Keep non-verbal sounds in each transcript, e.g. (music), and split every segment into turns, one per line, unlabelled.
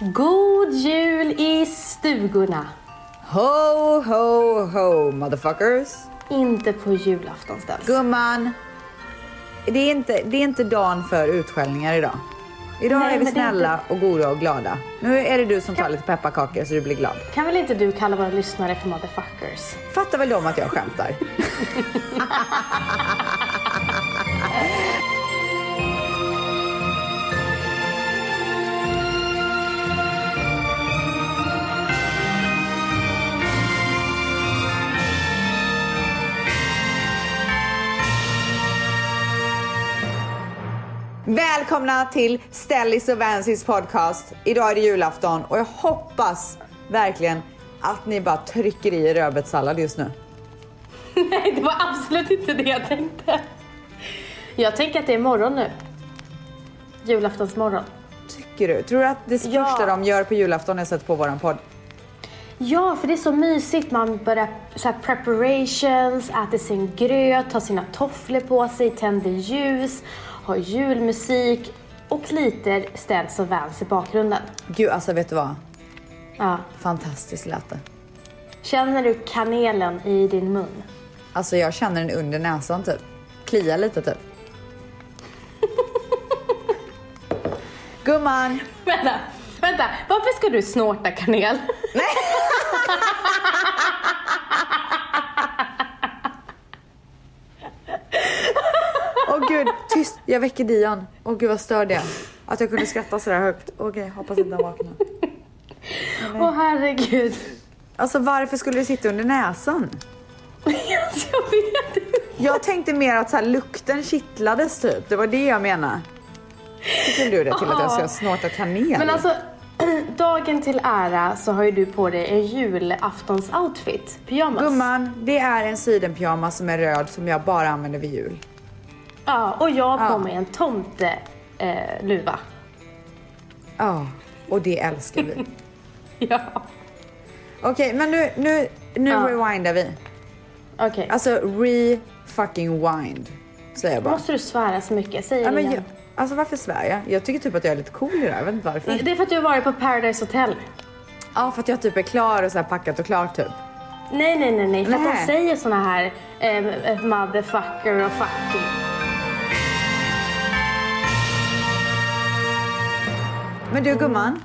God jul i stugorna!
Ho, ho, ho motherfuckers.
Inte på julaftonsdans.
Gumman, det är inte, det är inte dagen för utskällningar idag. Idag
Nej,
är vi
men det är
snälla och goda och glada. Nu är det du som tar lite pepparkakor så du blir glad.
Kan väl inte du kalla våra lyssnare för motherfuckers? (laughs)
Fattar väl de att jag skämtar? Välkomna till Stellis och Vansis podcast. Idag är det julafton och jag hoppas verkligen att ni bara trycker i er rödbetssallad just nu.
Nej, det var absolut inte det jag tänkte. Jag tänker att det är morgon nu. Julaftonsmorgon.
Tycker du? Tror du att det
Ja.
första de gör på julafton är att sätta på våran podd?
Ja, för det är så mysigt. Man börjar så här preparations, äter sin gröt, har sina tofflor på sig, tänder ljus, har julmusik och lite ställs och väns i bakgrunden.
Gud, alltså vet du vad?
Ja.
Fantastiskt lät det.
Känner du kanelen i din mun?
Alltså jag känner den under näsan typ. Kliar
(laughs)
lite typ. Gumman!
Vänta, vänta. Varför ska du snorta kanel?
Åh gud, tyst! Jag väcker Dion. Åh gud vad störd jag är. Att jag kunde skratta sådär högt. Okej, hoppas inte han vaknar.
Åh herregud. (laughs)
Alltså varför skulle det sitta under näsan?
Alltså, jag vet inte.
Jag tänkte mer att så här, lukten kittlades typ. Det var det jag menade. Tycker du det till att jag ska snorta kanel?
Ah. Men alltså, (clears throat) dagen till ära så har ju du på dig en julaftonsoutfit. Pyjamas.
Gumman, det är en sidenpyjamas som är röd som jag bara använder vid jul.
Ja, och jag har på
Ja.
mig en tomte eh, luva.
(laughs) Ja,
Ah.
och det älskar vi.
Ja.
Okej, men nu, nu, nu
Ja.
rewindar vi.
Okej.
Alltså re-fucking-wind. Säger jag bara.
Måste du svära så mycket? Säg
Ja,
det
men
igen.
jag, alltså varför svär jag? Jag tycker typ att jag är lite cool idag, jag vet inte varför. Ja,
Det är för att du har varit på Paradise Hotel.
för att jag typ är klar och så här packat och klar typ.
Nej, nej, nej, nej. För att de
Nej.
säger såna här eh, motherfucker och fucking.
Men du gumman,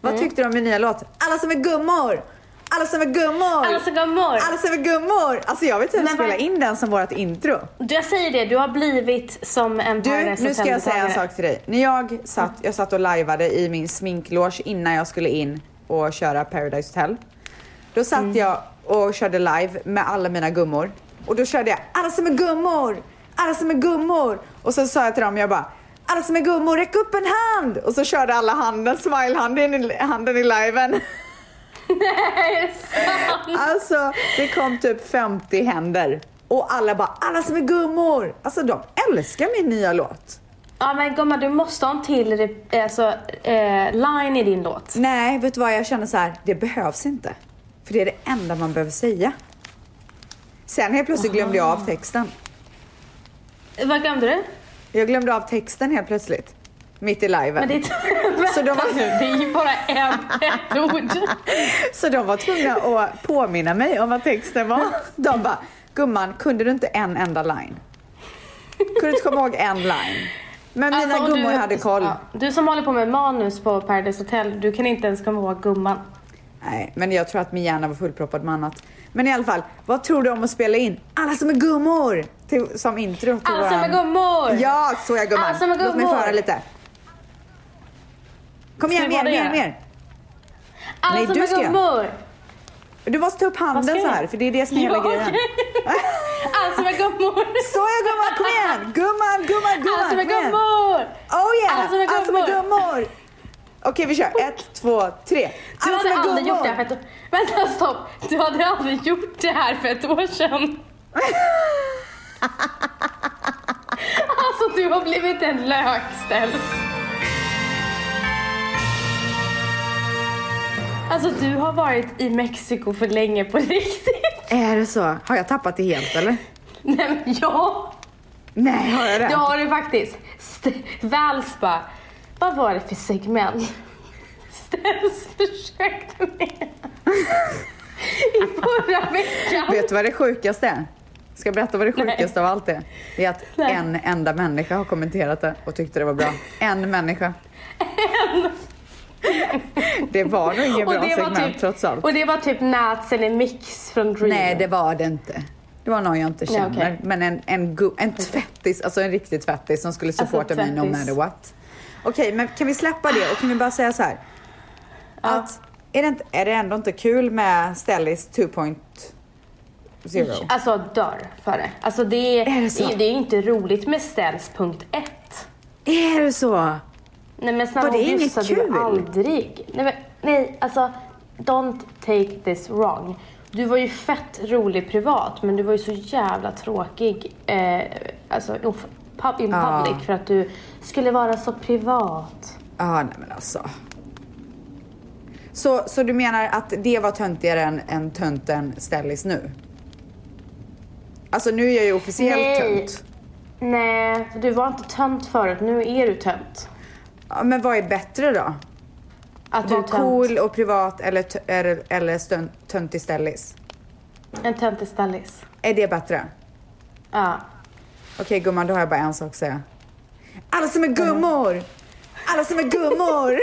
vad tyckte du om min nya låt? Alla som är gummor! Alla som är gummor!
Alla som går mor.
Alla som är gummor! Alltså jag vet inte hur
Men vad-
spela in den som vårt intro.
Du, Jag säger det, du har blivit som en
Du,
Paradise
nu ska jag säga en
Hotel-deltagare.
sak till dig. När jag satt, jag satt och lajvade i min sminkloge innan jag skulle in och köra Paradise Hotel. Då satt jag och körde live med alla mina gummor. Och då körde jag alla som är gummor, alla som är gummor. Och så sa jag till dem, jag bara alla som är gummor, räck upp en hand! Och så körde alla handen, smile-handen i, handen i liven.
(laughs) Nej, sant.
Alltså, det kom typ 50 händer. Och alla bara, alla som är gummor! Alltså de älskar min nya låt.
Ja men gumman, du måste ha en till rep- alltså, eh, line i din låt.
Nej, vet du vad? Jag känner så här, det behövs inte. För det är det enda man behöver säga. Sen helt plötsligt glömde jag av texten.
Vad glömde du?
Jag glömde av texten helt plötsligt. Mitt i liven.
Men (laughs) det är, vänta
Så de var-
nu, det är ju bara en, ett ord.
(laughs) Så de var tvungna att påminna mig om vad
(laughs)
texten var. De bara, gumman, kunde du inte en enda line? Kunde du inte komma ihåg en line? Men mina
Alltså, om
gummor hade koll.
Ja, du som håller på med manus på Paradise Hotel, du kan inte ens komma ihåg gumman.
Nej, men jag tror att min hjärna var fullproppad med annat. Men i alla fall, vad tror du om att spela in alla som är gummor? Till, som intro till
Alla som är
våran-
gummor!
Ja, så jag gumman.
Alla som är
Låt mig få
gummor.
höra lite. Kom igen,
Ska jag
mer,
bara
mer,
göra?
mer.
Alla
nej,
som
du
är
ska göra.
Alltså, gummor!
Du måste ta
Vad
upp
ska
handen så
jag
här,
göra?
för det är det som är hela
Ja, okej.
grejen. (laughs)
Alla som är gummor!
Så jag gumman, kom
(laughs)
igen! Gumman, gumman, gumman!
Alla som är
kom igen.
gummor!
Oh yeah!
Alla som är gummor.
gummor. Okej, vi kör. Ett, två, tre.
Du
Alla
Alltså,
som
hade
är
aldrig gjort
gummor!
det här för ett år... Vänta stopp! Du hade aldrig gjort det här för ett år (laughs) sedan. alltså du har blivit en lökställ. Alltså du har varit i Mexiko för länge på (laughs) riktigt.
Är det så? Har jag tappat det helt eller?
Nej men ja,
Nej, har jag det?
det har du faktiskt. St- Väls bara, vad var det för segment? (laughs) ens försökte med.
(laughs)
I förra veckan.
Vet du vad det sjukaste är? Ska jag berätta vad det sjukaste av allt är? Det är att
Nej.
en enda människa har kommenterat det och tyckte det var bra.
(laughs)
En människa. Det var nog inget bra segment
typ-
trots allt.
och det var typ Nats eller Mix från Dream.
Nej, det var det inte. Det var någon jag inte
Nej,
känner.
okej.
Men en, en, gu- en tvättis, alltså en riktig tvättis som skulle
Alltså,
supporta mig no
tvättis.
matter what. Okej, men kan vi släppa det och kan vi bara säga så här. Att, är det, inte, är det ändå inte kul med Stellis 2.0?
Alltså dör för det. Alltså det är,
Är det
det
så?
är, ju inte roligt med ställs punkt ett.
Är det så?
Nej men snälla
Var det
August,
inget
så du
kul?
aldrig. Nej, men, nej alltså don't take this wrong. Du var ju fett rolig privat men du var ju så jävla tråkig eh, alltså, of- pub- in
Ja.
public för att du skulle vara så privat.
Ja, nej men alltså. Så, så du menar att det var töntigare än, än tönten Stellis nu? Alltså nu är jag ju officiellt
Nej.
tönt.
Nej, för du var inte tönt förut. Nu är du tönt.
Ja, men vad är bättre då?
Att du är
Var
tönt.
cool och privat eller, t- eller, eller stön- töntig ställis?
En töntig stallis.
Är det bättre?
Ja.
Okej gumman, då har jag bara en sak att säga. Alla som är gummor! Alla som är
(laughs)
gummor!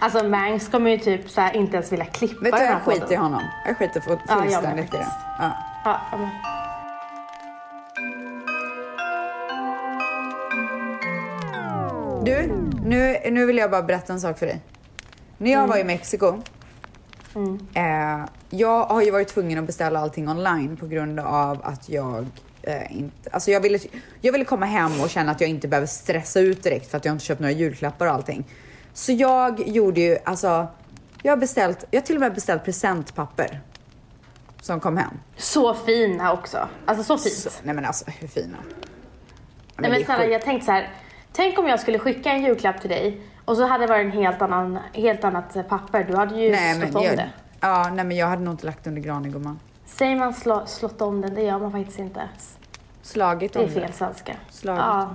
Alltså Mangs kommer ju typ så här inte ens vilja klippa
Vet du,
den här
jag skiter i
podden.
honom. Jag skiter fu-
jag med
fullständigt i det.
faktiskt.
Ja.
Ja, ja, men-
Du, nu, nu vill jag bara berätta en sak för dig. När jag var i
Mm.
Mexiko, eh, jag har ju varit tvungen att beställa allting online på grund av att jag eh, inte, alltså jag ville, jag ville komma hem och känna att jag inte behöver stressa ut direkt för att jag inte köpt några julklappar och allting. Så jag gjorde ju, alltså, jag har beställt, jag har till och med beställt presentpapper som kom hem.
Så fina också. Alltså så fint.
Så, nej men alltså hur fina?
Nej,
det
men
är
snälla,
sjukt.
jag tänkte så här. Tänk om jag skulle skicka en julklapp till dig och så hade det varit en helt, annan, helt annat eh, papper. Du hade ju slått om
jag,
det.
Ja, nej men jag hade nog inte lagt under granen gumman.
Säger man slå, slått om den? Det gör man faktiskt inte.
Slagit
Det är
om
fel svenska.
Slagit.
Ja.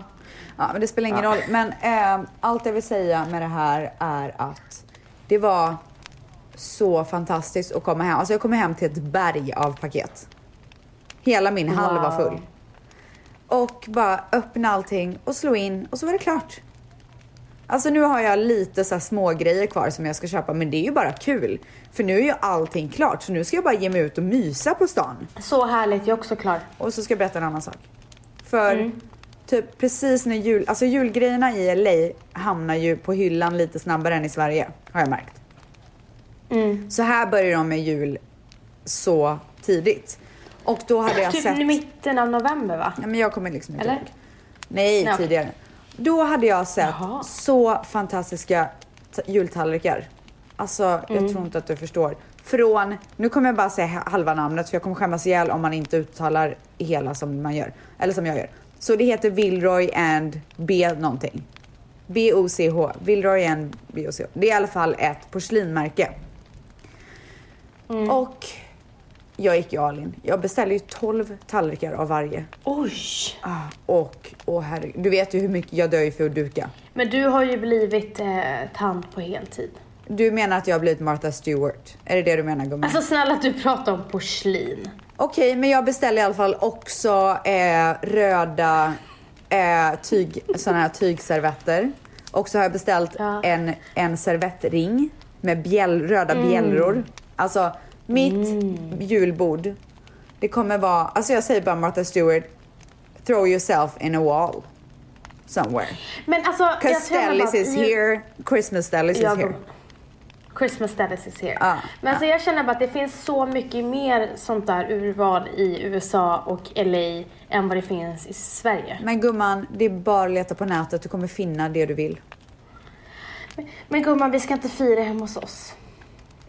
Ja, men det spelar ingen roll. Men ehm, allt jag vill säga med det här är att det var så fantastiskt att komma hem. Alltså jag kom hem till ett berg av paket. Hela min hall var
Wow.
full. Och bara öppna allting och slå in och så var det klart. Alltså nu har jag lite så här små grejer kvar som jag ska köpa men det är ju bara kul. För nu är ju allting klart så nu ska jag bara ge mig ut och mysa på stan.
Så härligt, jag är också klar.
Och så ska jag berätta en annan sak. För
Mm.
typ precis när jul, alltså julgrejerna i LA hamnar ju på hyllan lite snabbare än i Sverige har jag märkt.
Mm.
Så här börjar de med jul så tidigt. Och då hade jag
Typ
sett...
i mitten av november va?
Nej, men jag kommer liksom inte
Eller?
ihåg. Nej,
Nej, okej.
tidigare. Då hade jag sett
Jaha.
så fantastiska t- jultallrikar. Alltså,
Mm.
jag tror inte att du förstår. Från, nu kommer jag bara säga ha- halva namnet för jag kommer skämmas ihjäl om man inte uttalar hela som man gör. Eller som jag gör. Så det heter Vilroy and B någonting. B-O-C-H. Vilroy and B-O-C-H. Det är i alla fall ett porslinmärke.
Mm.
Och jag gick ju all in. Jag beställde ju 12 tallrikar av varje.
Oj!
Ah, och, åh herregud. Du vet ju hur mycket jag dör ju för att duka.
Men du har ju blivit eh, tant på heltid.
Du menar att jag har blivit Martha Stewart? Är det det du menar gumman?
Alltså snälla att du pratar om porslin.
Okej, men jag beställde i alla fall också eh, röda eh, tyg, såna här tygservetter. Och så har jag beställt
Ja.
en, en servettring med bjäll, röda
Mm.
bjällror. Alltså, mitt julbord, det kommer vara, alltså jag säger bara Martha Stewart, throw yourself in a wall somewhere.
Men alltså, jag tror
Cause
ändå
Stellis
att
is
ju-
here, Christmas Stellis is
Ja,
here. Ah,
Christmas status is here.
Ja,
Men alltså jag känner bara att det finns så mycket mer sånt där urval i USA och LA än vad det finns i Sverige.
Men gumman, det är bara att leta på nätet, du kommer finna det du vill.
Men gumman, vi ska inte fira hemma hos oss.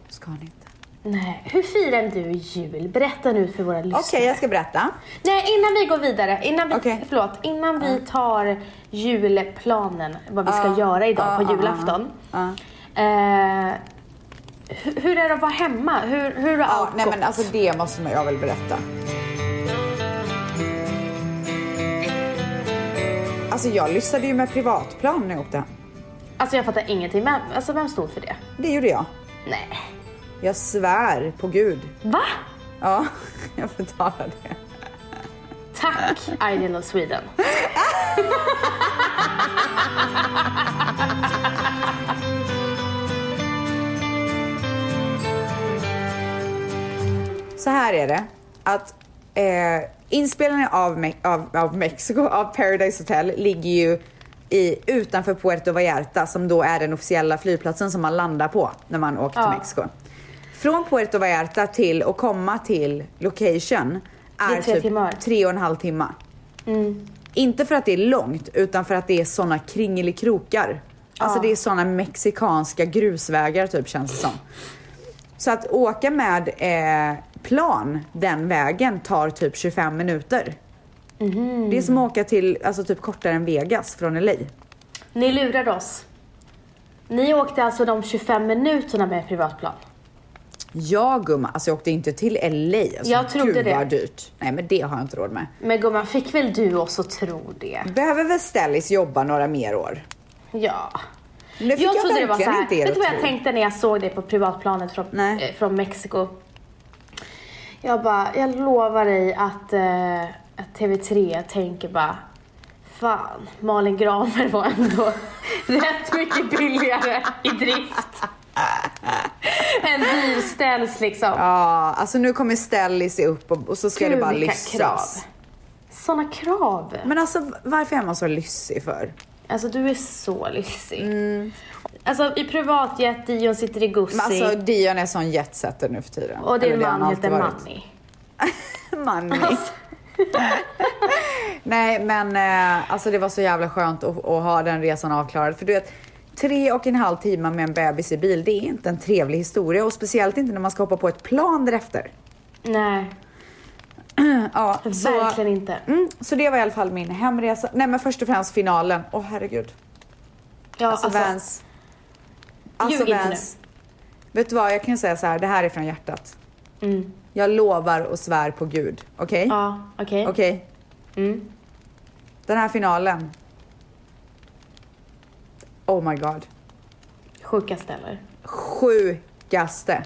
Ska ni inte?
Nej. Hur firar du jul? Berätta nu för våra lyssnare.
Okej, jag ska berätta.
Nej, innan vi går vidare. Innan vi,
Okej.
Förlåt, innan vi tar julplanen, vad vi ska
Ja,
göra idag
ja,
på
ja,
julafton.
ja,
Eh, hur, hur är det att vara hemma? Hur, hur har
Ja,
allt
nej
gått?
men alltså det måste jag väl berätta. Alltså jag lyssnade ju med privatplan när jag åkte hem.
Alltså jag fattar ingenting. Vem, alltså vem stod för det?
Det gjorde jag.
Nej.
Jag svär på gud.
Va?
Ja, (laughs) jag betalar det.
Tack
(laughs)
Idol of Sweden.
Så här är det att eh, inspelningen av, Me- av, av Mexiko, av Paradise Hotel, ligger ju i, utanför Puerto Vallarta som då är den officiella flygplatsen som man landar på när man åker till
Ja.
Mexiko. Från Puerto Vallarta till att komma till location
Det
är,
är tre
typ
timmar. Mm.
tre och en halv timme. Inte för att det är långt utan för att det är såna kringelikrokar. Alltså det är såna mexikanska grusvägar typ känns det som. Så att åka med eh, plan den vägen tar typ 25 minuter.
Mhm.
Det är som att åka till, alltså typ kortare än Vegas från LA.
Ni lurade oss. Ni åkte alltså de 25 minuterna med privatplan.
Ja gumman, alltså jag åkte inte till LA. Alltså,
Jag trodde
gud,
det.
vad dyrt. Nej men det har jag inte råd med.
Men gumman, fick väl du oss att tro det?
Behöver väl Stellis jobba några mer år?
Ja.
Men Det fick jag,
trodde det var
verkligen
såhär.
inte er
Vet
att
du vad jag
tro.
tänkte när jag såg det på privatplanet från,
Nej.
eh, från Mexiko? Jag bara, jag lovar dig att, eh, att TV3 tänker bara Fan, Malin Gramer var ändå (laughs) rätt mycket billigare i drift. En dyr ställs liksom.
Ja, alltså nu kommer Stellis upp och, och så ska
Gud,
det bara
vilka
lyssas.
Såna krav.
Men alltså varför är man så lyssig för?
Alltså du är så lyssig. Alltså i privatjet, Dion sitter i Gucci.
Mm. Men alltså Dion är sån jetsetter nu för tiden.
och
Eller
din
det har
man
han
heter
alltid varit.
Manny. (laughs)
(laughs) Manny. Nej men eh, alltså det var så jävla skönt att, att ha den resan avklarad. För du vet, tre och en halv timme med en bebis i bil, det är inte en trevlig historia. Och speciellt inte när man ska hoppa på ett plan därefter.
Nej,
Ja, så,
verkligen inte.
mm, så det var i alla fall min hemresa. Nej men först och främst finalen. Åh herregud.
Ja,
Alltså,
alltså,
Vans. Alltså
Ljug inte
Vans. Vet du vad, jag kan säga så här, det här är från hjärtat.
Mm.
Jag lovar och svär på gud. Okej?
Ja, okej.
Okej.
Mm.
Den här finalen. Oh my god.
Sjuka ställen.
Sjukaste.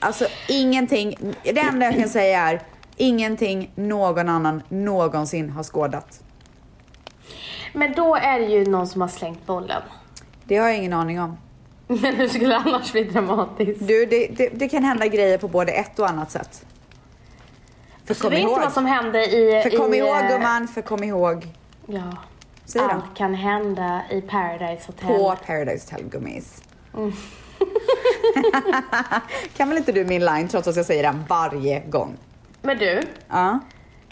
Alltså ingenting. Det enda jag kan säga är ingenting någon annan någonsin har skådat.
Men då är det ju någon som har slängt bollen. (laughs)
Det har jag ingen aning om.
Men hur skulle det annars bli dramatiskt?
Du, det, det, det kan hända grejer på både ett och annat sätt. För
Så
kom
vet
ihåg.
Alltså, inte vad som hände i...
För kom
i,
ihåg
eh,
gumman, för kom ihåg.
Ja.
Säg då.
Allt kan hända i Paradise Hotel.
På Paradise Hotel gummis.
Mm.
(laughs) kan väl inte du min line trots att jag säger den varje gång?
Men du,
Ja.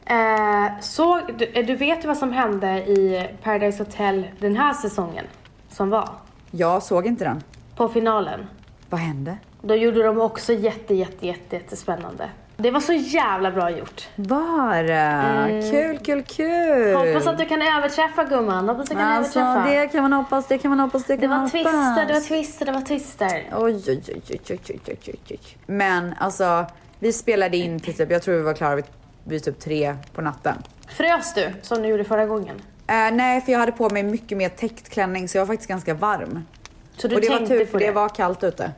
eh, såg, du, eh, du vet ju vad som hände i Paradise Hotel den här säsongen som var?
Jag såg inte den.
På finalen.
Vad hände?
Då gjorde de också jätte, jätte, jätte, jättespännande. Det var så jävla bra gjort.
Bara. Mm. Kul, kul, kul.
Hoppas att du kan överträffa gumman. Hoppas du kan
Alltså
överträffa.
det kan man hoppas, det kan man hoppas, det kan
Det var
man
twister, det var
hoppas.
twister, det var twister.
Oj, oj, oj, oj, oj, oj, oj, oj, oj. Men alltså, vi spelade in till typ, jag tror vi var klara vid, vid typ tre på natten.
Frös du som du gjorde förra gången?
Eh, nej, för jag hade på mig mycket mer täckt klänning så jag var faktiskt ganska varm.
Så du
och det var
tänkte
tur
på
för
det? Mm.
det var kallt ute.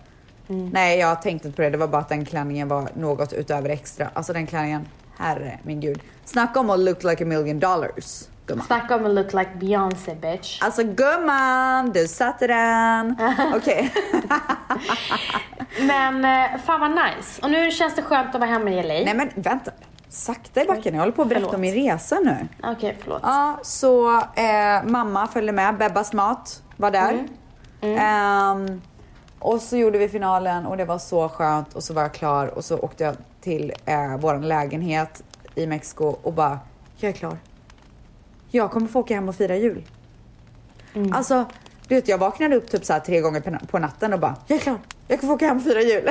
Nej, jag tänkte inte på det. Det var bara att den klänningen var något utöver extra. Alltså den klänningen, herre min gud. Snacka om att look like a million dollars, gumman.
Snacka om att look like Beyoncé bitch.
Alltså gumman, du
(laughs)
satte den. Okej.
Men eh, fan vad nice. Och nu känns det skönt att vara hemma i LA.
Nej men vänta. Sakta i backen, jag håller på att berätta om
Förlåt.
min resa nu.
Okej, förlåt.
Ja, så eh, mamma följde med. Bebbas mat var där. Ehm, och så gjorde vi finalen och det var så skönt och så var jag klar och så åkte jag till eh, vår lägenhet i Mexiko och bara, jag är klar. Jag kommer få åka hem och fira jul. Alltså, du vet jag vaknade upp typ så här tre gånger på- på natten och bara, jag är klar. Jag kommer få åka hem och fira jul.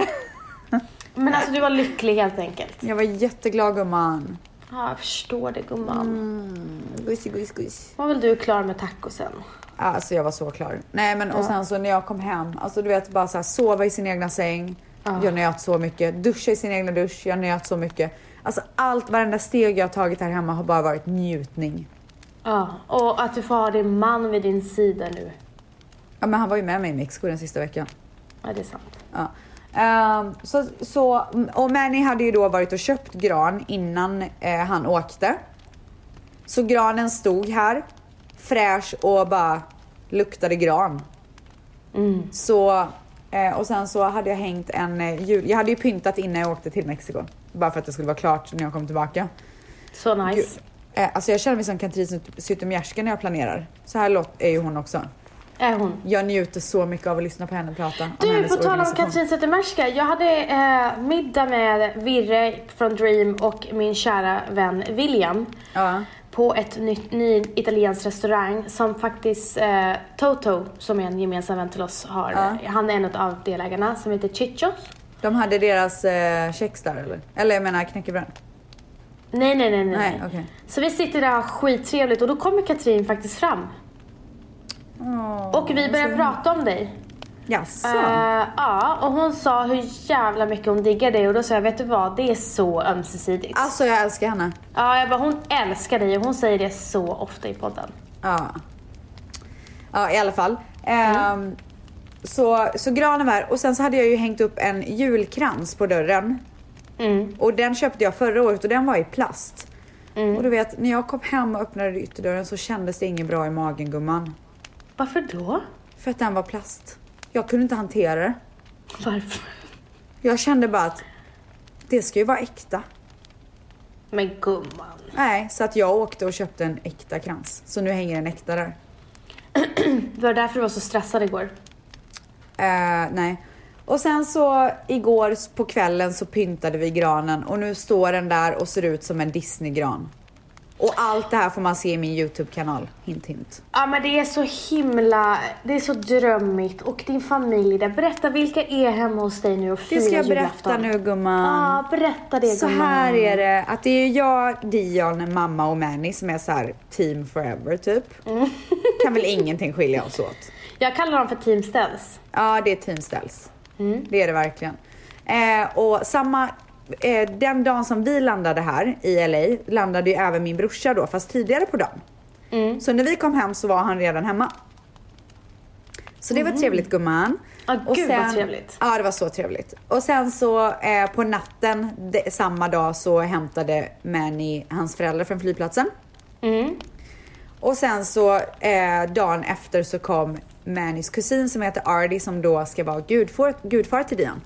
Men alltså du var lycklig helt enkelt.
jag var jätteglad gumman.
Ja, jag förstår det gumman.
Mm. Guss, guss, guss.
Var väl du klar med tacosen?
Alltså jag var så klar. Nej men och sen så när jag kom hem, alltså du vet bara så här, sova i sin egna säng. Jag njöt så mycket. Duscha i sin egna dusch. Jag njöt så mycket. Alltså allt, varenda steg jag har tagit här hemma har bara varit njutning.
Ja, och att du får ha din man vid din sida nu.
Ja, men han var ju med mig i Mexiko den sista veckan.
Ja, det är sant.
Ja. Ehm, så, så, och Manny hade ju då varit och köpt gran innan eh, han åkte. Så granen stod här, fräsch och bara luktade gran.
Mm.
Så, eh, och sen så hade jag hängt en eh, jul... Jag hade ju pyntat innan jag åkte till Mexiko. Bara för att det skulle vara klart när jag kom tillbaka.
Så nice.
Eh, alltså jag känner mig som Katrin Zytomierska när jag planerar. Så här låt är ju hon också.
Är hon.
Jag njuter så mycket av att lyssna på henne prata om
Du,
hennes
på tal om
organisation.
Katrin Zetterbergska. Jag hade eh, middag med Virre från Dream och min kära vän William.
Ja.
På ett nytt, ny italiensk restaurang som faktiskt eh, Toto, som är en gemensam vän till oss, har.
Ja.
Han är en av delägarna som heter Chichos.
De hade deras eh, kex där eller? Eller jag menar knäckebröd.
Mm. Nej, nej, nej. nej.
Nej,
nej
okej.
Så vi sitter där och har skittrevligt och då kommer Katrin faktiskt fram. Och vi börjar prata om dig.
Jaså?
Eh, ja, och hon sa hur jävla mycket hon diggar dig och då sa jag, vet du vad, det är så ömsesidigt. Ja,
Alltså jag älskar henne.
jag bara, hon älskar dig och hon säger det så ofta i podden.
Ja. Ja i alla fall. Ehm,
Mm.
så, så granen var här. och sen så hade jag ju hängt upp en julkrans på dörren.
Mm.
Och den köpte jag förra året och den var i plast. Och du vet när jag kom hem och öppnade ytterdörren så kändes det inget bra i magen gumman.
Varför då?
För att den var plast. Jag kunde inte hantera det.
Varför?
Jag kände bara att det ska ju vara äkta.
Men gumman.
Nej, så att jag åkte och köpte en äkta krans. Så nu hänger en äkta där.
Det var därför du var så stressad igår.
Eh, nej. Och sen så igår på kvällen så pyntade vi granen och nu står den där och ser ut som en Disneygran. Och allt det här får man se i min Youtube-kanal. Hint hint.
Ja men det är så himla, det är så drömmigt och din familj där. Berätta vilka är hemma hos dig nu och
Det
firar
ska jag
julafton?
berätta nu gumman.
Ja, berätta det
Så
gumman.
här är det, att det är jag, Dion, mamma och Manny som är så här team forever typ. Kan väl ingenting skilja oss åt.
Jag kallar dem för Team Stens.
Ja, det är Team Ställs.
Mm.
Det är det verkligen. Eh, och samma, eh, den dagen som vi landade här i LA landade ju även min brorsa då, fast tidigare på dagen.
Mm.
Så när vi kom hem så var han redan hemma. Så det var trevligt gumman.
Mm. Ja, gud, vad trevligt.
Ja, det var så trevligt. Och sen så eh, på natten de, samma dag så hämtade Manny hans föräldrar från flygplatsen.
Mm.
Och sen så eh, dagen efter så kom Mannys kusin som heter Artie som då ska vara gudfar, gudfar till Dion.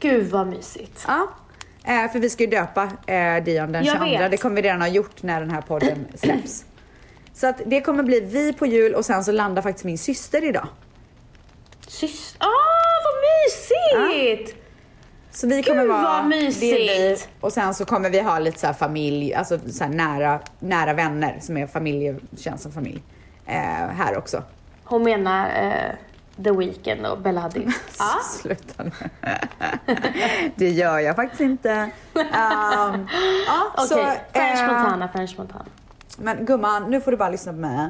Gud vad mysigt.
Ja. Eh, för vi ska ju döpa eh, Dion den
Jag
22.
vet.
Det kommer vi redan ha gjort när den här podden (clears throat) släpps. så att det kommer bli vi på jul och sen så landar faktiskt min syster idag.
Syst... Åh, Ah, vad mysigt!
Så vi kommer
Gud,
vara...
vad
Det är vi,
mysigt.
och sen så kommer vi ha lite så här familj, alltså så här nära, nära vänner som är familj, känns som familj. Eh, här också.
Hon menar eh, The Weeknd och Bella Hadid. (laughs) ja.
Sluta nu. (laughs) det gör jag faktiskt inte. Um, ja,
(laughs) Okej, French
eh,
Montana, French Montana.
Men gumman, nu får du bara lyssna på mig.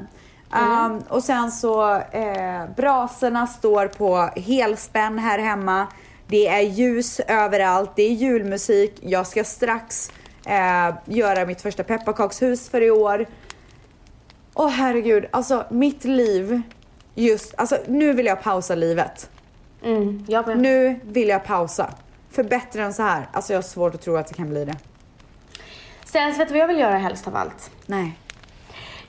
Mm.
Um, och sen så, eh, brasorna står på helspänn här hemma. Det är ljus överallt, det är julmusik. Jag ska strax eh, göra mitt första pepparkakshus för i år. Åh herregud, alltså mitt liv just, alltså nu vill jag pausa livet.
Mm, jag med.
Nu vill jag pausa. För bättre än så här, alltså jag har svårt att tro att det kan bli det.
Sen så vet du vad jag vill göra helst av allt?
Nej.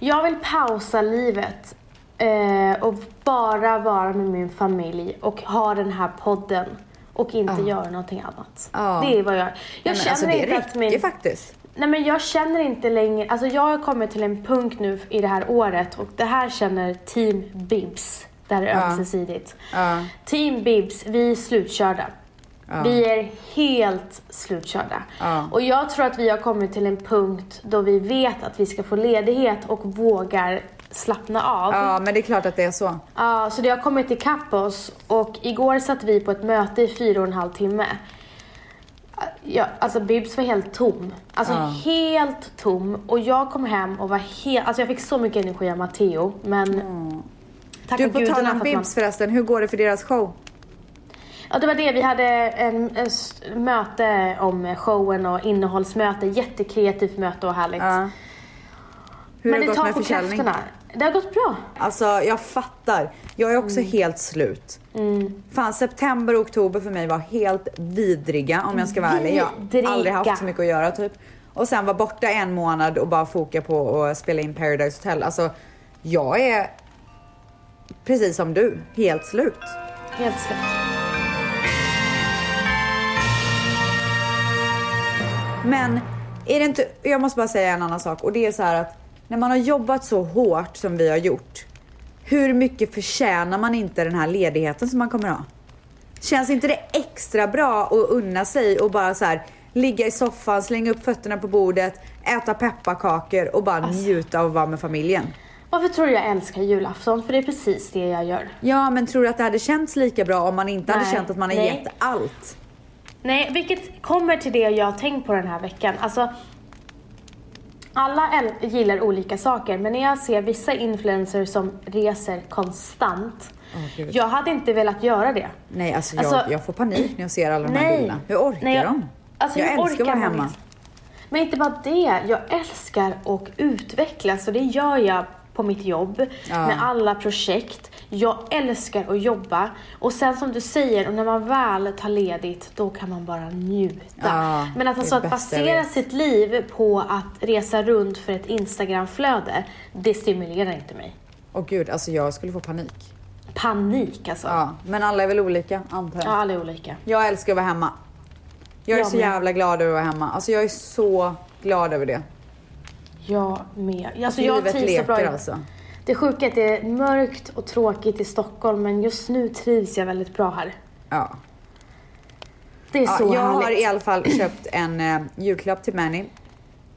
Jag vill pausa livet eh, och bara vara med min familj och ha den här podden och inte göra någonting annat.
Ja.
Det är vad jag... Jag
Nej, men
känner
alltså, det
inte
räcker
att min...
faktiskt.
Nej men jag känner inte längre, alltså jag har kommit till en punkt nu i det här året och det här känner Team Bibs. Det här är
Ja.
ömsesidigt.
Ja.
Team Bibs, vi är slutkörda. Vi är helt slutkörda.
Ja.
Och jag tror att vi har kommit till en punkt då vi vet att vi ska få ledighet och vågar slappna av.
Ja, men det är klart att det är så.
Ja, så det har kommit ikapp oss och igår satt vi på ett möte i fyra och en halv timme. Ja, alltså Bibs var helt tom. Alltså
Ja.
helt tom. Och jag kom hem och var helt, alltså jag fick så mycket energi av Matteo men tacka
Mm. Du, på tal
gudarna
om
för att man...
Bibs förresten, hur går det för deras show?
Ja, det var det. Vi hade en, en s- möte om showen och innehållsmöte. Jättekreativt möte och härligt.
Ja. Hur
men
har
det
gått
tar
med
på
försäljning?
krafterna. Det har gått bra.
Alltså jag fattar. Jag är också helt slut. Fan september och oktober för mig var helt vidriga om jag ska vara ärlig. Jag
Vidriga.
har aldrig haft så mycket att göra typ. Och sen var borta en månad och bara foka på att spela in Paradise Hotel. Alltså jag är precis som du, helt slut.
Helt slut.
Men är det inte, jag måste bara säga en annan sak och det är så här att när man har jobbat så hårt som vi har gjort. Hur mycket förtjänar man inte den här ledigheten som man kommer ha? Känns inte det extra bra att unna sig och bara så här ligga i soffan, slänga upp fötterna på bordet, äta pepparkakor och bara
Alltså.
njuta av att vara med familjen?
Varför tror du jag älskar julafton? För det är precis det jag gör.
Ja, men tror du att det hade känts lika bra om man inte hade
Nej.
känt att man har
Nej.
gett allt?
Nej, vilket kommer till det jag har tänkt på den här veckan. Alltså, alla äl- gillar olika saker, men när jag ser vissa influencers som reser konstant.
Åh, Gud.
jag hade inte velat göra det.
Nej, alltså jag,
Alltså-
jag får panik när jag ser alla de här
Nej.
bilderna. Hur orkar
Nej, jag-
de?
alltså,
jag
hur
älskar att vara
orkar man
hemma.
liksom? Men inte bara det, jag älskar att utvecklas och det gör jag på mitt jobb,
Ja.
med alla projekt. Jag älskar att jobba och sen som du säger, och när man väl tar ledigt då kan man bara njuta.
Ja,
Men att,
det
alltså,
är
att
det bästa jag
basera
vet.
sitt liv på att resa runt för ett Instagramflöde, det stimulerar inte mig.
Åh gud, alltså jag skulle få panik.
Panik alltså. Ja,
Ja, men alla är väl olika antar jag.
alla är olika.
Jag älskar att vara hemma. Jag är
Jag
så
med.
jävla glad över att vara hemma. Alltså jag är så glad över det.
Jag med. Alltså, jag
Livet
trivs så
leker
bra. i-
alltså.
Det sjuka är att det är mörkt och tråkigt i Stockholm men just nu trivs jag väldigt bra här.
Ja.
Det är
Ja,
så
jag har
härligt.
i alla fall köpt en eh, julklapp till Manny.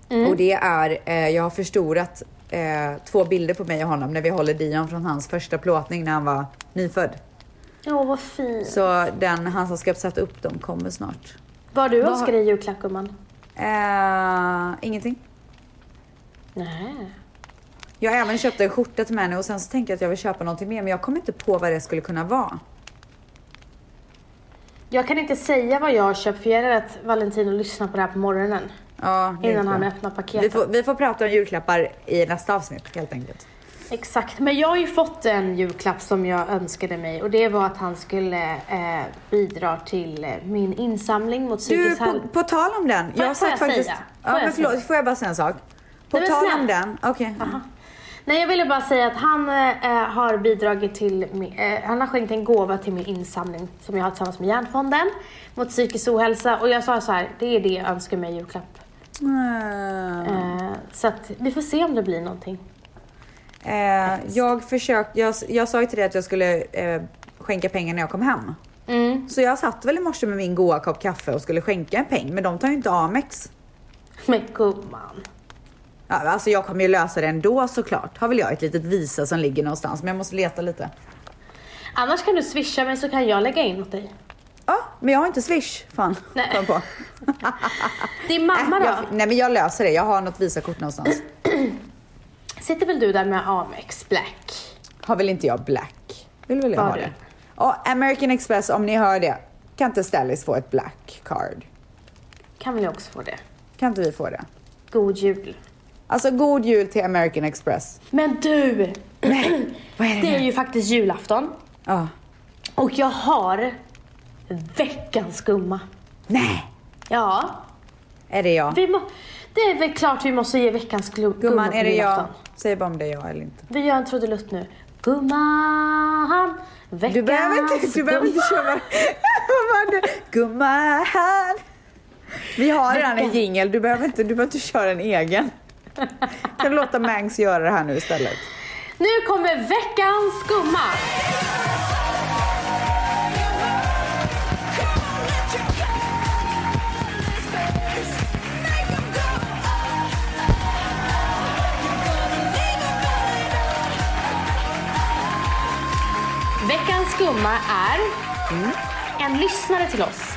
Mm.
Och det är, eh, jag har förstorat eh, två bilder på mig och honom när vi håller Dion från hans första plåtning när han var nyfödd.
Åh vad fint.
Så den, han som ska sätta upp dem kommer snart.
Vad har du
Vad-
önskar dig i julklapp gumman?
Eh, ingenting.
Nej.
Jag har även köpt en skjorta till Manny och sen så tänkte jag att jag vill köpa någonting mer men jag kommer inte på vad det skulle kunna vara.
Jag kan inte säga vad jag har köpt för jag är rädd att Valentino lyssnar på det här på morgonen.
Ja, det är
Innan
bra.
han öppnar paketet.
Vi får, vi får prata om julklappar i nästa avsnitt helt enkelt.
Exakt. Men jag har ju fått en julklapp som jag önskade mig och det var att han skulle eh, bidra till eh, min insamling mot
Du,
psykisk
på,
hall-
på tal om den.
Får- får jag säga? Får
Ja,
jag
men
säga?
förlåt, får jag bara säga en sak? På
Nej, men
tal om
snälla.
den. Okej.
Jaha. Nej, jag ville bara säga att han eh, har bidragit till, min, eh, han har skänkt en gåva till min insamling som jag har tillsammans med Hjärnfonden mot psykisk ohälsa och jag sa så här, det är det jag önskar mig i julklapp.
Mm.
Eh, så att vi får se om det blir någonting. (laughs)
Eh, jag, försökte, jag, jag sa ju till dig att jag skulle eh, skänka pengar när jag kom hem.
Mm.
Så jag satt väl i morse med min goa kopp kaffe och skulle skänka en peng, men de tar ju inte Amex.
Men gumman.
Ja, alltså jag kommer ju lösa det ändå såklart. Har väl jag ett litet visa som ligger någonstans, men jag måste leta lite.
Annars kan du swisha mig så kan jag lägga in åt dig.
Ja, men jag har inte swish. Fan,
Nej. (laughs)
kom på.
Din mamma
Äh,
då?
jag, nej men jag löser det, jag har något visakort någonstans.
Sitter väl du där med Amex Black?
Har väl inte jag black? Vill väl jag
Har
ha
du?
det? Ja, American Express om ni hör det. Kan inte Stellis få ett black card?
Kan väl jag också få det?
Kan inte vi få det?
God jul.
Alltså god jul till American Express.
Men du! (clears throat)
Vad är det?
Det är
nu?
ju faktiskt julafton.
Ja.
Och jag har veckans gumma.
Nej,
Ja,
är det jag?
vi må, det är väl klart vi måste ge veckans glu- gumma
Gumman,
på
är det jag?
julafton.
Säg bara om det är jag eller inte.
Vi gör en trudelutt nu. Gumman, veckans
Du behöver inte, du behöver inte
gumma.
köra. (laughs) Gumman, Gumman. Vi har redan en jingel, du behöver inte, du behöver inte köra en egen. Kan du låta Mangs göra det här nu istället?
Nu kommer veckans gumma. Veckans gumma är en lyssnare till oss.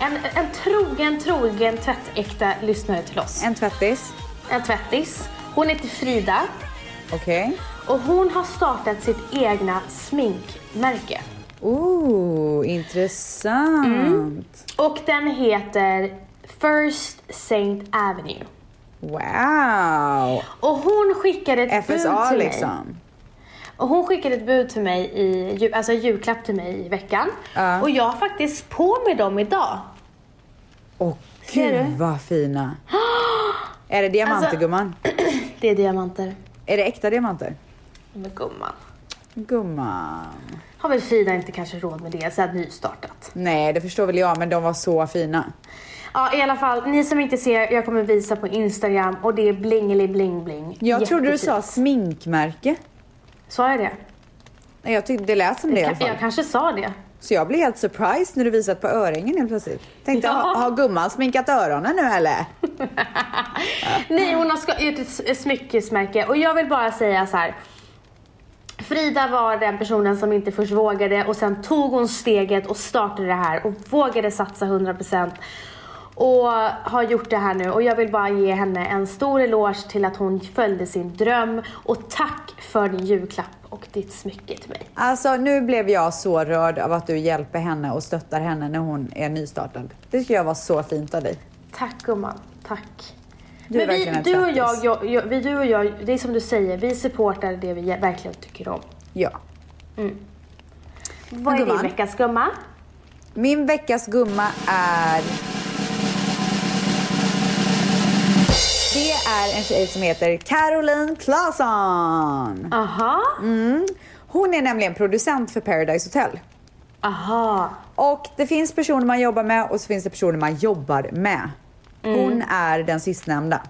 En, en trogen, trogen tvättäkta lyssnare till oss.
En tvättis.
En tvättis. Hon heter Frida.
Okej.
Och hon har startat sitt egna sminkmärke.
Oh, intressant.
Och den heter First Saint Avenue.
Wow!
Och hon skickade ett bud
FSA
Mm. till mig.
liksom.
Och hon skickade ett bud till mig, i, ju- alltså julklapp till mig i veckan.
Ja.
Och jag har faktiskt på mig dem idag. (clears throat)
Åh
Ser
gud vad
(gasps)
fina. är det diamanter
Alltså-
gumman?
Det är diamanter.
Är det äkta diamanter?
Men gumman.
Gumman.
Har väl Frida inte kanske råd med det, så här nystartat.
Nej det förstår väl jag men de var så fina.
Ja i alla fall, ni som inte ser, jag kommer visa på Instagram och det är blingeli bling bling.
Jag trodde du
Jättefint.
sa sminkmärke.
Sa jag det?
Nej, Jag tyckte det lät som det i alla
Jag,
fall.
jag kanske sa det.
Så jag blev helt surprised när du visat på öringen helt plötsligt. Tänkte,
Ja.
ha, har gumman sminkat öronen nu eller?
(laughs) Nej, hon har ska- gjort ett s- ett smyckesmärke och jag vill bara säga så här. Frida var den personen som inte först vågade och sen tog hon steget och startade det här och vågade satsa 100% och har gjort det här nu och jag vill bara ge henne en stor eloge till att hon följde sin dröm och tack för din julklapp och ditt smycke till mig.
Alltså nu blev jag så rörd av att du hjälper henne och stöttar henne när hon är nystartad. Det tycker jag var så fint av dig.
Tack gumman, tack.
Du är
Men vi,
verkligen en
du och jag,
trattis.
jag, jag, vi, du och jag, det är som du säger, vi supportar det vi verkligen tycker om.
Ja.
Vad är din
Gumman.
veckas gumma?
Min veckas gumma är... Det är en tjej som heter Caroline Claesson.
Aha.
Mm. Hon är nämligen producent för Paradise Hotel.
Aha.
Och det finns personer man jobbar med och så finns det personer man jobbar med. Hon är den sistnämnda.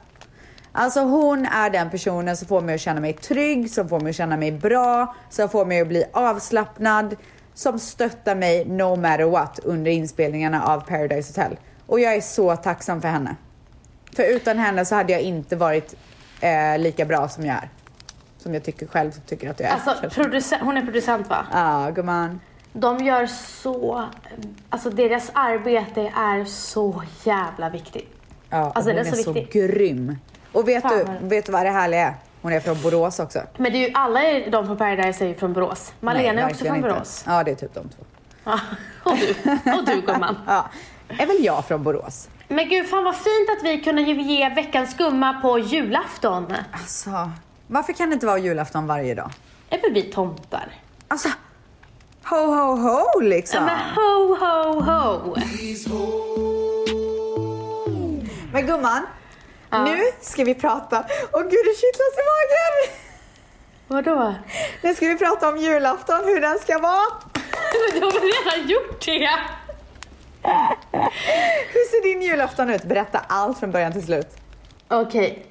Alltså hon är den personen som får mig att känna mig trygg, som får mig att känna mig bra, som får mig att bli avslappnad, som stöttar mig no matter what under inspelningarna av Paradise Hotel. Och jag är så tacksam för henne. För utan henne så hade jag inte varit eh, lika bra som jag är. Som jag tycker själv tycker att jag är.
Alltså, producent, hon är producent va?
Ja, gumman.
De gör så... Alltså deras arbete är så jävla viktigt.
Ja, och
Alltså,
hon
den är
är,
så
så,
viktig.
grym. Och vet
Fan,
du,
vad-
vet du vad det härliga är? Hon är från Borås också.
Men det är ju, alla är- de från Paradise är ju från Borås. Malena
Nej,
är också
verkligen
från
inte.
Borås.
Ja, det är typ de två.
Ja. (laughs) Och du, och du gumman.
Ja, är väl jag från Borås?
Men gud, fan vad fint att vi kunde ju ge veckans gumma på julafton.
Alltså, varför kan det inte vara julafton varje dag?
Är väl vi tomtar?
Alltså, ho ho ho liksom.
Men ho, ho, ho.
Men gumman, nu ska vi prata. Åh gud, det kittlas i magen!
Vadå?
Nu ska vi prata om julafton, hur den ska vara.
(laughs) Men du har väl redan gjort det?
Hur ser din julafton ut? Berätta allt från början till slut.
Okej.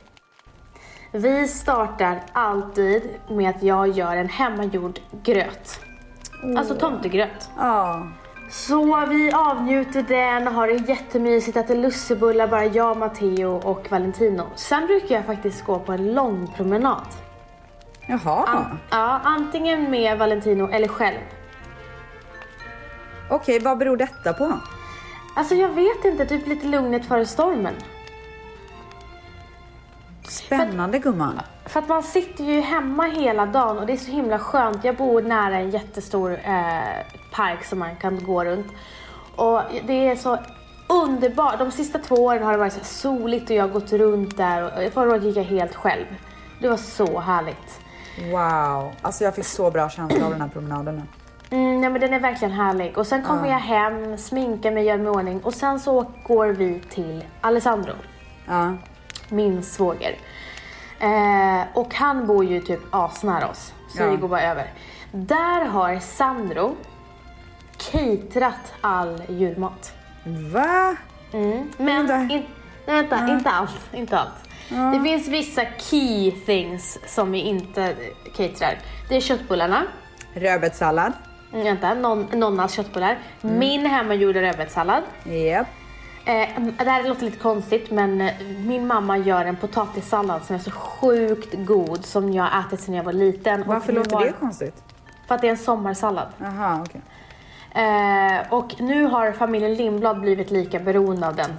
Vi startar alltid med att jag gör en hemmagjord gröt. Alltså tomtegröt.
Ja.
Så vi avnjuter den, har det jättemysigt, äter lussebullar, bara jag, Matteo och Valentino. Sen brukar jag faktiskt gå på en lång promenad.
Jaha,
An- ja, antingen med Valentino eller själv.
okej, vad beror detta på?
Alltså jag vet inte, typ lite lugnet före stormen.
Spännande gumman.
För att man sitter ju hemma hela dagen och det är så himla skönt. Jag bor nära en jättestor eh, park som man kan gå runt. Och det är så underbart. De sista två åren har det varit så här soligt och jag har gått runt där. Och eh, förra året gick jag helt själv. Det var så härligt.
Wow, alltså jag fick så bra känsla av den här promenaden nu.
Mm, nej men den är verkligen härlig. Och sen kommer jag hem, sminkar mig, gör mig i ordning och sen så går vi till Alessandro.
Ja.
min svåger. Eh, och han bor ju typ asnära oss, så
Ja.
vi går bara över. Där har Sandro caterat all julmat.
Va?
Mm. Men
Vänta.
in, nej, vänta, inte allt. Inte allt. Det finns vissa key things som vi inte caterar. Det är köttbullarna,
Rödbetssallad.
mm, vänta, någon, nonnas köttbullar,
Mm.
min hemmagjorda rödbetssallad.
Japp.
Eh, det här låter lite konstigt men eh, min mamma gör en potatissallad som är så sjukt god som jag har ätit sedan jag var liten. Och
Varför
nu
låter
har-
det konstigt?
För att det är en sommarsallad.
Jaha, okej.
Eh, och nu har familjen Lindblad blivit lika beroende av den.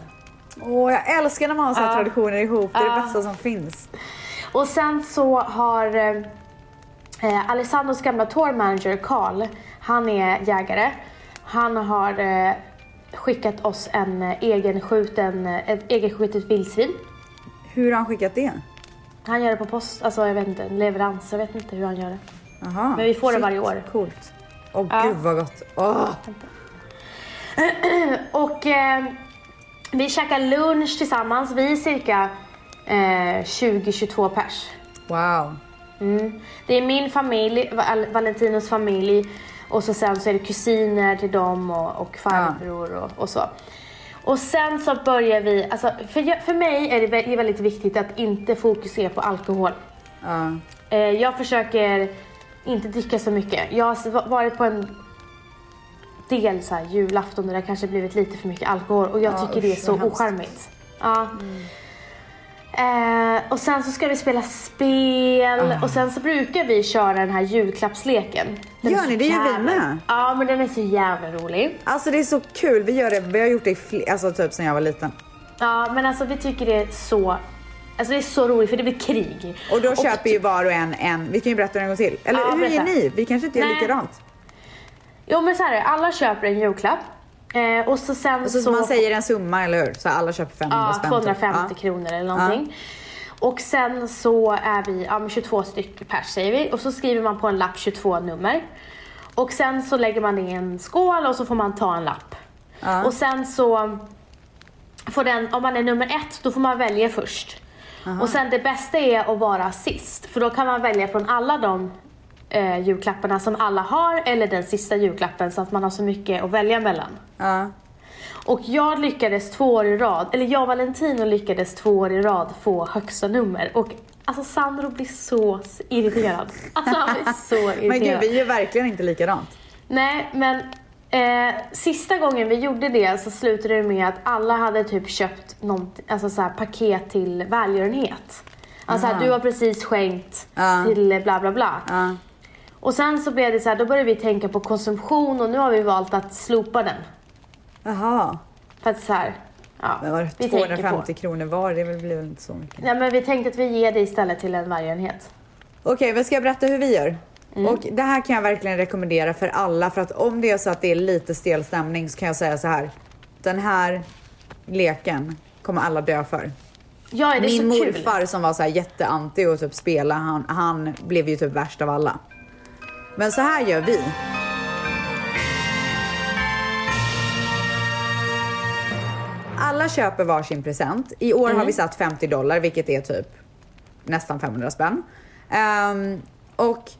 Åh, jag älskar när man har så här
Ja.
traditioner ihop. Det är
Ja.
det bästa som finns.
Och sen så har eh, eh, Alessandros gamla tourmanager Karl, han är jägare. Han har eh, skickat oss en eh, egenskjuten, eh, ett egenskjutet vildsvin.
Hur har han skickat det?
Han gör det på post, alltså jag vet inte, leverans. Jag vet inte hur han gör det.
Aha.
Men vi får det varje år.
Coolt. Ah. Åh
Ja.
gud vad gott. Åh.
Och eh, vi käkar lunch tillsammans. Vi är cirka eh, 20-22 pers.
Wow.
Mm. Det är min familj, Val- Valentinos familj och så sen så är det kusiner till dem och, och farbror och, och så. Och sen så börjar vi, alltså för, jag, för mig är det vä- det är väldigt viktigt att inte fokusera på alkohol.
Ja.
Eh, jag försöker inte dricka så mycket. Jag har s- va- varit på en del så här, julafton där det kanske blivit lite för mycket alkohol och jag
Ja,
tycker det är
usch,
så
vad hemskt. Mm.
ocharmigt. Ja. Eh, och sen så ska vi spela spel
Ah.
och sen så brukar vi köra den här julklappsleken. Den är
Gör
så
ni? Det gör vi
jävla-
med.
Ja men den är så jävla rolig.
Alltså det är så kul. Vi gör det. Vi har gjort det i fl- alltså, typ sen jag var liten.
Ja men alltså vi tycker det är så, alltså det är så roligt för det blir krig.
Och då köper ju var och en en. Vi kan ju berätta det en gång till. Eller
Ja,
hur gör
berätta.
ni? Vi kanske inte gör
Nej.
likadant.
Jo men så här är det. alla köper en julklapp. Eh, och så sen
Så, Alltså, man säger en summa eller hur? Så alla köper 500
Ja,
spänn. typ.
250
Ja.
kronor eller någonting. Och sen så är vi ja, men 22 stycken pers säger vi och så skriver man på en lapp 22 nummer. Och sen så lägger man det i en skål och så får man ta en lapp.
Ja.
Och sen så får den, om man är nummer ett då får man välja först. Och sen det bästa är att vara sist för då kan man välja från alla de eh, julklapparna som alla har eller den sista julklappen så att man har så mycket att välja mellan.
Ja.
Och jag lyckades två år i rad, eller jag och Valentino lyckades två år i rad få högsta nummer. Och alltså Sandro blir så irriterad. Alltså han blir så irriterad.
(laughs) Men gud, vi gör verkligen inte likadant.
Nej men eh, sista gången vi gjorde det så slutade det med att alla hade typ köpt något, alltså så här, paket till välgörenhet. Alltså här,
Aha.
du har precis skänkt
Ja.
till bla bla bla.
Ja.
Och sen så blev det så här, då började vi tänka på konsumtion och nu har vi valt att slopa den.
Jaha.
För att så här, ja,
Men var det
vi tänker på.
250 kronor var? Det blir väl inte så mycket.
Nej men vi tänkte att vi ger det istället till en välgörenhet.
Okej, men ska jag berätta hur vi gör?
Mm.
Och det här kan jag verkligen rekommendera för alla för att om det är så att det är lite stel stämning så kan jag säga så här. Den här leken kommer alla dö för.
Ja, är det
Min
så kul?
morfar som var så här jätteanti och typ spela, han, han blev ju typ värst av alla. Men så här gör vi. Alla köper varsin present. I år
Mm.
har vi satt 50 dollar vilket är typ nästan 500 spänn. Ehm, och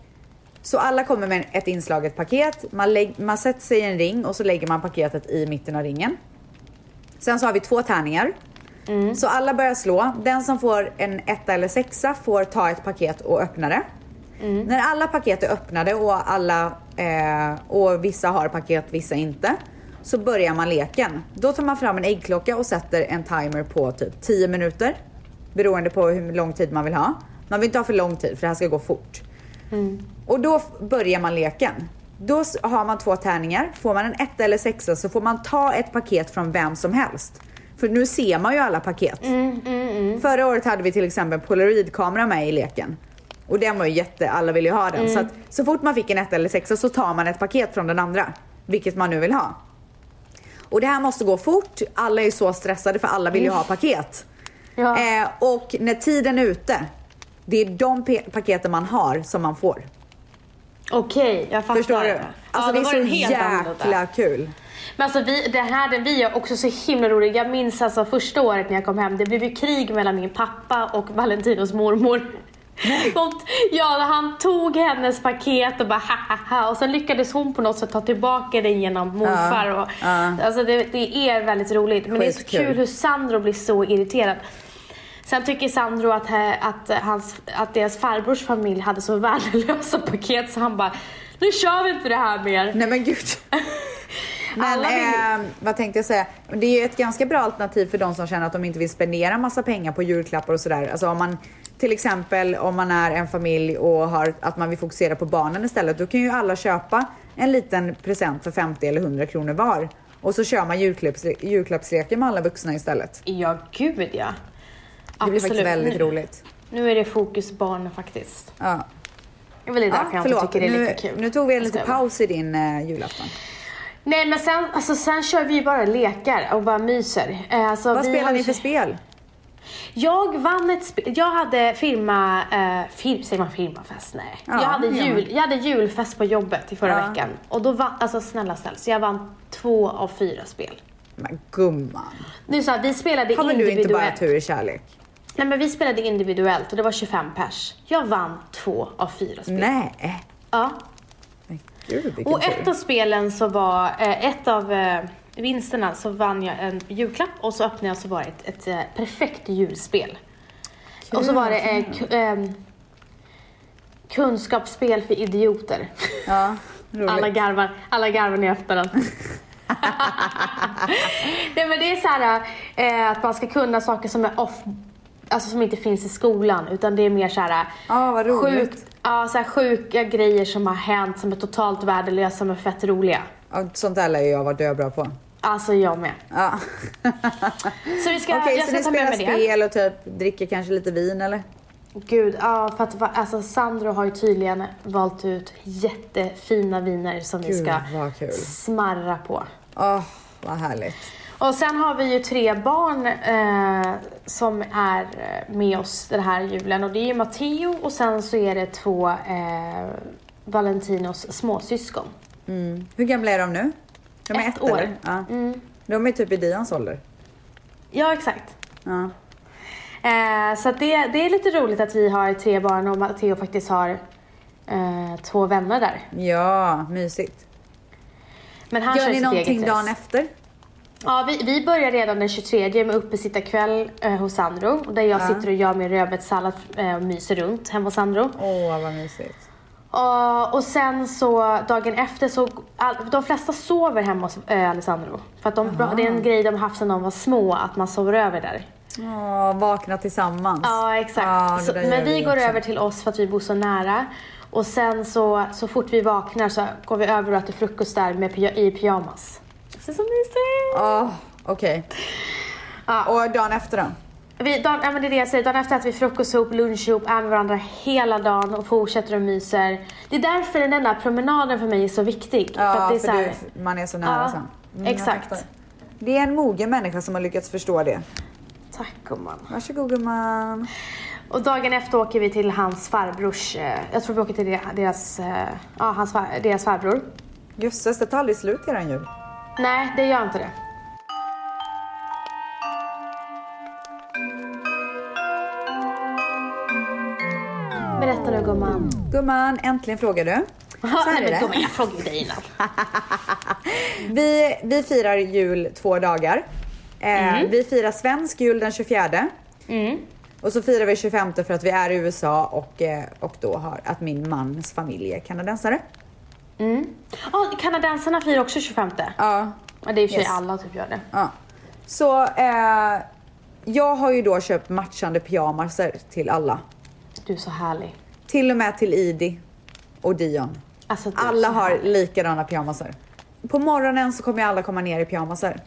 så alla kommer med ett inslaget paket. Man, lägg, man sätter sig i en ring och så lägger man paketet i mitten av ringen. Sen så har vi två tärningar. Så alla börjar slå. Den som får en etta eller sexa får ta ett paket och öppna det. När alla paket är öppnade och, alla, eh, och vissa har paket, vissa inte. Så börjar man leken. Då tar man fram en äggklocka och sätter en timer på typ 10 minuter. Beroende på hur lång tid man vill ha. Man vill inte ha för lång tid för det här ska gå fort. Och då f- börjar man leken. Då s- har man två tärningar. Får man en etta eller sexa så får man ta ett paket från vem som helst. För nu ser man ju alla paket.
Mm,
Förra året hade vi till exempel en polaroidkamera med i leken. Och den var ju jätte, alla ville ju ha den. Så
Mm.
att så fort man fick en etta eller sexa så tar man ett paket från den andra. Vilket man nu vill ha. Och det här måste gå fort, alla är så stressade för alla vill ju ha paket.
Mm. Ja.
Eh, och när tiden är ute, det är de pe- paketen man har som man får.
Okej, jag fattar.
Förstår du? Alltså
ja, då
det
var
är
den
så
helt annorlunda.
jäkla kul.
Men alltså vi, det här den vi gör också så himla roligt. Jag minns alltså första året när jag kom hem, det blev ju krig mellan min pappa och Valentinos mormor. Och, ja, han tog hennes paket och bara ha, ha, ha. och sen lyckades hon på något sätt ta tillbaka den genom morfar.
Ja,
och,
ja.
Alltså det, det är väldigt roligt. Men det är så
Skitkul.
kul hur Sandro blir så irriterad. Sen tycker Sandro att, he- att, hans, att deras farbrors familj hade så värdelösa paket så han bara, nu kör vi inte det här mer.
Nej men gud. Men
(laughs) Alla vill ju-
eh, vad tänkte jag säga? Det är ju ett ganska bra alternativ för de som känner att de inte vill spendera massa pengar på julklappar och sådär. Alltså om man till exempel om man är en familj och har, att man vill fokusera på barnen istället. Då kan ju alla köpa en liten present för 50 eller 100 kronor var. Och så kör man julklapps, julklappsleken med alla vuxna istället.
Ja, gud ja.
Det blir faktiskt väldigt
nu,
roligt.
Nu är det fokus barn faktiskt.
Ja. Ah,
Det är väl det därför jag inte
förlåt,
tycker det är
nu,
lika kul.
nu tog vi en
Jag
liten
skojar bara.
paus i din eh, julafton.
Nej men sen, alltså, sen kör vi ju bara lekar och bara myser. Eh, Alltså,
Vad
vi
spelar
har ju-
ni för spel?
Jag vann ett sp- Jag hade firma... Eh, fir- säger man firmafest? Nej.
Ja,
jag, hade
det gör
jul, jag hade julfest på jobbet i förra
Ja.
veckan. Och då vann... Alltså snälla snälla. Så jag vann två av fyra spel.
Men gumman.
Nu är så här, vi spelade
Har väl du inte bara
individuellt.
tur i kärlek?
Nej men vi spelade individuellt och det var 25 pers. Jag vann två av fyra spel.
Nej.
Ja.
Men gud vilken
Och ett
tur.
av spelen så var, eh, ett av eh, vinsterna så vann jag en julklapp och så öppnade jag så var det ett, ett eh, perfekt julspel. Och så var det eh, ku- ehm, kunskapsspel för idioter.
Ja,
(laughs)
roligt.
Alla garvar, alla garvar när jag öppnar den. (laughs) Nej men det är så här eh, att man ska kunna saker som är off, alltså som inte finns i skolan utan det är mer så här
Ja, vad roligt.
sjukt, ja, så här sjuka grejer som har hänt som är totalt värdelösa men fett roliga.
Ja, Sånt där lär ju jag vara döbra på.
Alltså jag med.
Ja. (laughs)
Så vi ska,
Okej,
jag
så
ska
ni
ta med
spelar
mig det.
spel och typ dricker kanske lite vin eller?
Gud, ja för att va- alltså Sandro har ju tydligen valt ut jättefina viner som vi
Gud,
ska
vad kul.
smarra på.
Åh, vad härligt.
Och sen har vi ju tre barn eh, som är eh, med oss den här julen och det är ju Matteo och sen så är det två eh, Valentinos småsyskon.
Mm. Hur gamla är de nu? De är
Ett
ett,
år.
Eller? Ja. De är typ i Dians ålder.
Ja, exakt.
Ja.
Eh, så att det, det är lite roligt att vi har tre barn och Matteo faktiskt har eh, två vänner där.
ja, mysigt.
Men han
Gör
kör
ni
sitt
någonting
eget race.
dagen efter?
Ja, vi, vi börjar redan den 23 med uppesittarkväll eh, hos Sandro. Där jag
Ja.
sitter och gör min rödbetssallad eh, och myser runt hemma hos Sandro.
Åh, vad mysigt.
Ja, och sen så dagen efter så, all, de flesta sover hemma hos eh, Alessandro. För att de, det är en grej de haft sedan de var små, att man sover över där.
Åh, vakna tillsammans.
Ja, exakt.
Ja, det
så,
där gör
men vi går
också.
över till oss för att vi bor så nära. Och sen så, så fort vi vaknar så går vi över och äter frukost där med, py- i pyjamas. Så så mysigt!
Åh, okej.
Ja.
Och dagen efter då?
Vi, dagen, ja, men det är det jag säger, dagen efter att vi frukost ihop, lunch ihop, är med varandra hela dagen och fortsätter och myser. Det är därför den där promenaden för mig är så viktig.
Ja,
för att det är så här,
du, man är så nära
Ja,
sen. Mm, jag
exakt.
fattar. Det är en mogen människa som har lyckats förstå det.
Tack gumman.
Varsågod gumman.
Och dagen efter åker vi till hans farbrors, eh, jag tror vi åker till de- deras, eh, ja, hans, far- deras farbror.
Jösses, det tar aldrig slut eran jul.
Nej, det gör inte det. Berätta nu gumman.
Gumman, äntligen frågar du. Så
Nej,
här är
men
det.
gumman, jag frågade ju dig innan.
Vi, vi firar jul två dagar. Eh, Vi firar svensk jul den 24.
Mm.
Och så firar vi 25 för att vi är i USA och, eh, och då har att min mans familj är kanadensare.
Mm. Oh, kanadensarna firar också 25.
Ja.
Ja, det är i och för sig
Yes.
alla typ gör det.
ja. Så eh, jag har ju då köpt matchande pyjamaser till alla.
Du är så härlig.
Till och med till Idi och Dion.
Alltså, du är
Alla
så
har
härlig.
likadana pyjamaser. På morgonen så kommer alla komma ner i pyjamaser.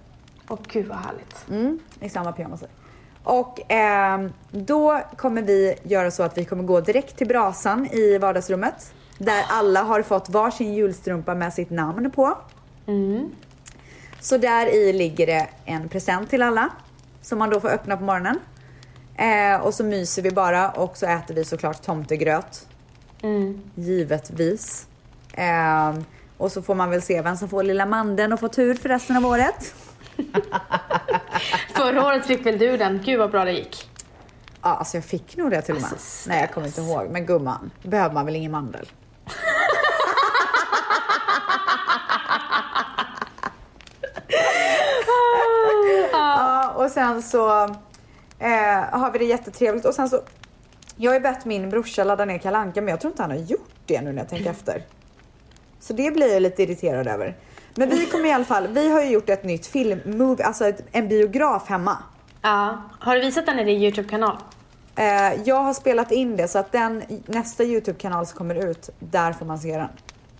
Åh gud vad härligt.
Mm, I samma pyjamaser. Och ehm, då kommer vi göra så att vi kommer gå direkt till brasan i vardagsrummet. Där alla har fått varsin julstrumpa med sitt namn på.
Mm,
Så där i ligger det en present till alla. Som man då får öppna på morgonen. Eh, och så myser vi bara och så äter vi såklart tomtegröt.
mm.
Givetvis. Ehm, och så får man väl se vem som får lilla mandeln och får tur för resten av året.
Förra året fick väl du den? Gud vad bra det gick.
Ja, alltså jag fick nog det till och med.
Alltså,
Nej, jag kommer inte ihåg. Men gumman, då behöver man väl ingen mandel? Ja, och sen så eh, har vi det jättetrevligt och sen så jag har ju bett min brorsa ladda ner Kalle Anka men jag tror inte han har gjort det nu när jag tänker efter. Så det blir jag lite irriterad över. Men vi kommer i alla fall, vi har ju gjort ett nytt filmmove, alltså ett, en biograf hemma.
Ja. Har du visat den i din YouTube-kanal?
Eh, jag har spelat in det så att den nästa Youtube-kanal som kommer ut, där får man se den.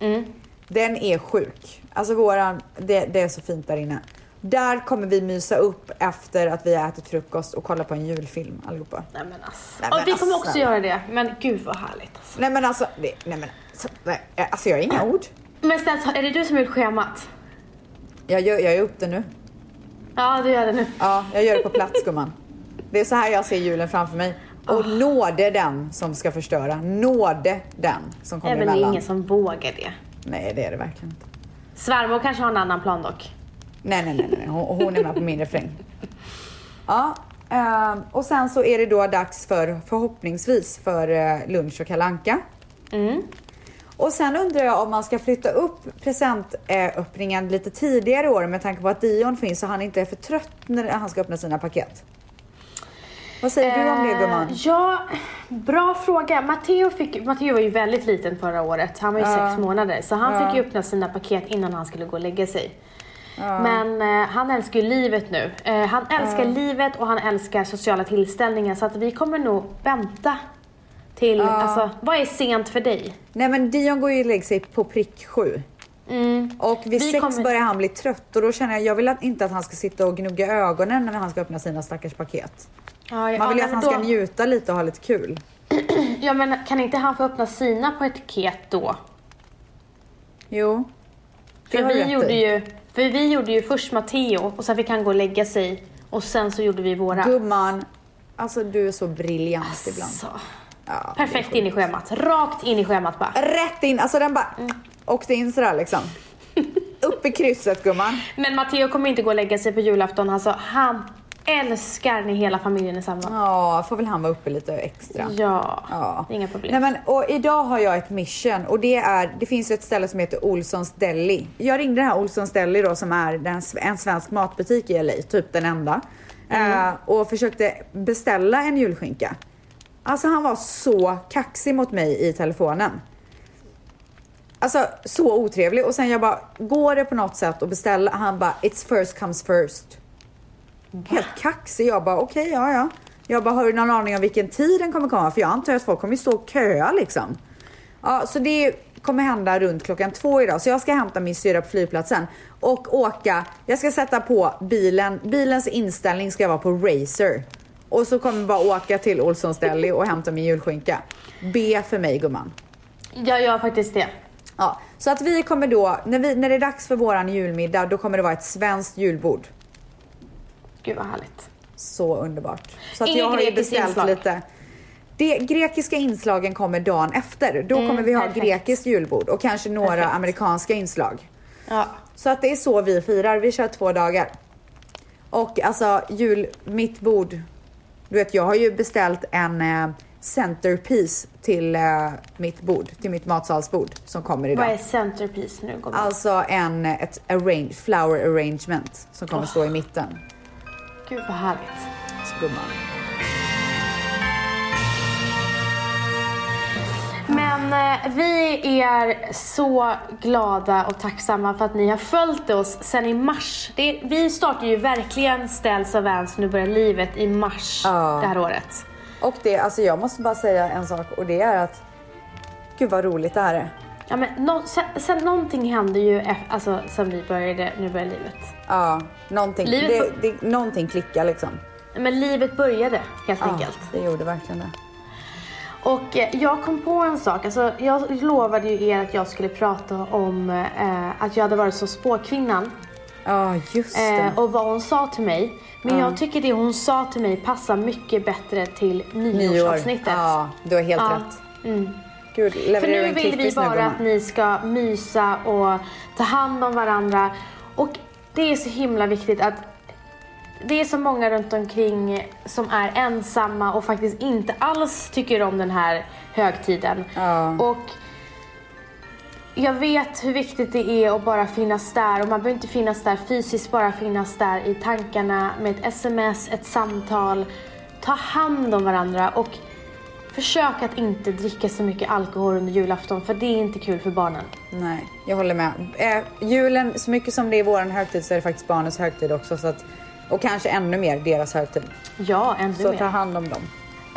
Mm.
Den är sjuk. Alltså våran, det, det är så fint där inne. Där kommer vi mysa upp efter att vi har ätit frukost och kolla på en julfilm allihopa.
Nej men alltså.
Nej, men
och vi kommer
alltså.
också göra det. Men gud vad härligt. Alltså.
Nej men alltså, det, nej men alltså, nej, eh, alltså jag har inga ord.
Men Stens, är det du som har gjort schemat?
Jag gör, jag gör upp det nu.
Ja, du gör det nu.
Ja, jag gör det på plats gumman. Det är så här jag ser julen framför mig. Och
Ah.
nåde den som ska förstöra. Nåde den som kommer
Även det är
emellan.
ingen som vågar det.
Nej, det är det verkligen inte.
Svärmor kanske har en annan plan dock.
Nej, nej, nej, nej. Hon, hon är med på min refräng. Ja, ehm, och sen så är det då dags för förhoppningsvis för eh, lunch och kalanka.
Mm.
Och sen undrar jag om man ska flytta upp presentöppningen lite tidigare i år med tanke på att Dion finns och han inte är för trött när han ska öppna sina paket. Vad säger du om det gumman?
Eh, Ja, bra fråga. Matteo, fick, Matteo var ju väldigt liten förra året. Han var ju sex månader. Så han fick ju öppna sina paket innan han skulle gå och lägga sig. Men eh, han älskar ju livet nu. Eh, han älskar livet och han älskar sociala tillställningar. Så att vi kommer nog vänta till, alltså vad är sent för dig?
Nej men Dion går ju och lägger sig på prick sju. Och vid
Mm. Vi
sex
kommer-
börjar han bli trött och då känner jag, jag vill att- inte att han ska sitta och gnugga ögonen när han ska öppna sina stackars paket. Man vill ju att han ska njuta lite och ha lite kul.
Ja men kan inte han få öppna sina på etiket då?
Jo. det
För
har du rätt
vi,
i.
gjorde ju, för vi gjorde ju först Matteo och sen fick han gå och lägga sig och sen så gjorde vi våra.
Gumman, alltså du är så briljant ibland.
Så.
Ja, det är
Perfekt
sjukt.
in i schemat. Rakt in i schemat bara.
Rätt in, alltså den bara
Mm.
åkte in sådär
(laughs)
liksom. Upp i krysset gumman.
Men Matteo kommer inte gå och lägga sig på julafton. Alltså, han älskar när hela familjen är samlad.
Ja, får väl han vara uppe lite extra.
Ja,
Ja.
inga problem.
Nej, men, och idag har jag ett mission och det är, det finns ju ett ställe som heter Olssons Deli. Jag ringde den här Olssons Deli då som är den, s- en svensk matbutik i LA, typ den enda.
Mm.
Eh, och försökte beställa en julskinka. Alltså han var så kaxig mot mig i telefonen. Alltså så otrevlig och sen jag bara, går det på något sätt att beställa? Han bara, it's first comes first. Helt kaxig. Jag bara okej, ja ja. Jag bara har du någon aning om vilken tid den kommer komma? För jag antar att folk kommer stå och köa liksom. Ja, så det kommer hända runt klockan två idag. Så jag ska hämta min syrra på flygplatsen och åka. Jag ska sätta på bilen. Bilens inställning ska vara på racer. Och så kommer jag bara åka till Olssons Deli och hämta min julskinka. Be för mig gumman.
Jag gör faktiskt det.
Ja, så att vi kommer då, när, vi, när det är dags för våran julmiddag, då kommer det vara ett svenskt julbord.
Gud vad härligt.
Så underbart. Så att
Ingen
jag har ju
grekiskt
beställt
inslag.
lite. Det grekiska inslagen kommer dagen efter. Då
Mm,
kommer vi ha
perfekt.
grekiskt julbord och kanske några
Perfekt.
amerikanska inslag.
Ja.
Så att det är så vi firar. Vi kör två dagar. Och alltså jul, mitt bord. Du vet jag har ju beställt en eh, centerpiece till eh, mitt bord, till mitt matsalsbord som kommer idag.
Vad är centerpiece nu? gumman?
Alltså en, ett arrange, flower arrangement som kommer stå i mitten.
Gud vad härligt.
Så gumman.
Men eh, vi är så glada och tacksamma för att ni har följt oss sedan i mars. Det, vi startade ju verkligen Ställs och Vans Nu börjar livet i mars
Ja.
det här året.
Och det, alltså jag måste bara säga en sak och det är att Gud vad roligt det här är.
Ja, men nå- sen, sen någonting hände ju ef- alltså, sen vi började Nu börjar livet.
Ja, någonting, det,
Livet-
det, någonting klickar liksom.
Men livet började helt
Ja,
enkelt.
det gjorde verkligen det.
Och eh, jag kom på en sak. Alltså, jag lovade ju er att jag skulle prata om eh, att jag hade varit som spåkvinnan
Ja, just det.
eh, och vad hon sa till mig. Men jag tycker det hon sa till mig passar mycket bättre till nyårsavsnittet.
Ja, du har helt
Ja. Mm.
rätt. Gud,
För
levererar du
nu
en
vill vi
klippis nu
bara
gumman?
att ni ska mysa och ta hand om varandra. Och det är så himla viktigt att det är så många runt omkring som är ensamma och faktiskt inte alls tycker om den här högtiden.
Ja.
Och jag vet hur viktigt det är att bara finnas där och man behöver inte finnas där fysiskt, bara finnas där i tankarna med ett sms, ett samtal. Ta hand om varandra och försök att inte dricka så mycket alkohol under julafton för det är inte kul för barnen.
Nej, jag håller med. Eh, julen, så mycket som det är våran högtid så är det faktiskt barnens högtid också. Så att, och kanske ännu mer deras högtid.
Ja, ännu
Så
mer.
ta hand om dem.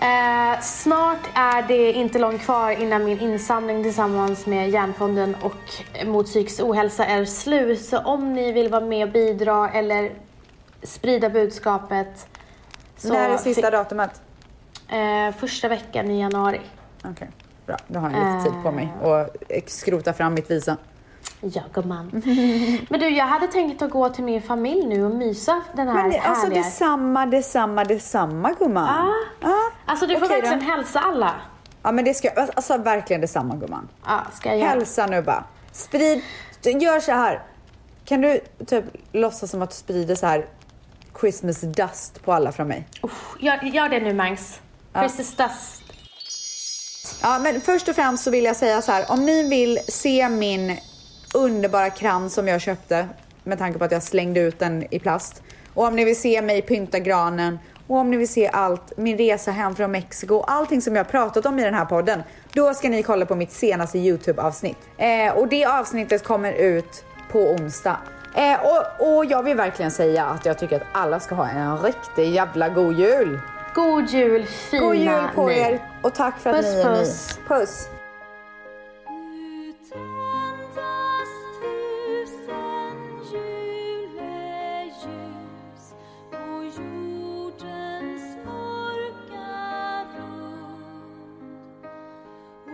Eh, snart är det inte långt kvar innan min insamling tillsammans med Hjärnfonden och mot psykisk ohälsa är slut. Så om ni vill vara med och bidra eller sprida budskapet. Så
det här är sista datumet.
eh, första veckan i januari.
Okej, bra. Då har jag lite tid på mig och eh, skrota fram mitt visa.
Ja
(laughs)
gumman. Men du, jag hade tänkt att gå till min familj nu och mysa den här
Men det,
härliga...
alltså detsamma, detsamma, detsamma gumman.
Ja.
Ja.
Alltså du får
Okej då.
verkligen hälsa alla.
Ja men det ska alltså verkligen detsamma gumman.
Ja, ska jag göra.
Hälsa nu bara. Sprid, du, gör så här. Kan du typ låtsas som att du sprider så här Christmas dust på alla från mig?
Uff, gör, gör det nu Mangs. Precis dust.
Ja men först och främst så vill jag säga så här. Om ni vill se min underbara krans som jag köpte med tanke på att jag slängde ut den i plast. Och om ni vill se mig pynta granen och om ni vill se allt, min resa hem från Mexiko och allting som jag har pratat om i den här podden. Då ska ni kolla på mitt senaste YouTube-avsnitt. Eh, och det avsnittet kommer ut på onsdag. Eh, och, och jag vill verkligen säga att jag tycker att alla ska ha en riktig jävla god jul.
God jul fina
God jul på
ni.
er och tack för att
Puss,
ni är
puss.
ni. Puss!
Nu tändas tusen juleljus och jordens mörka rund.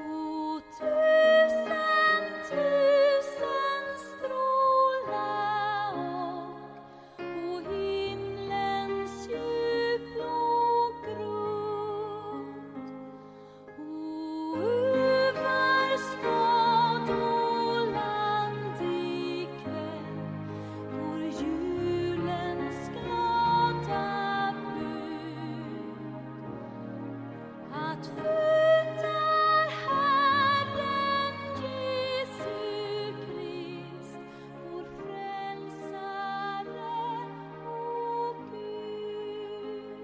O tusen, tusen stråla och o himlens djupblå grund. O över stad och land ikväll går julens glada bud att fötter Herren Jesu Krist, vår frälsare och Gud.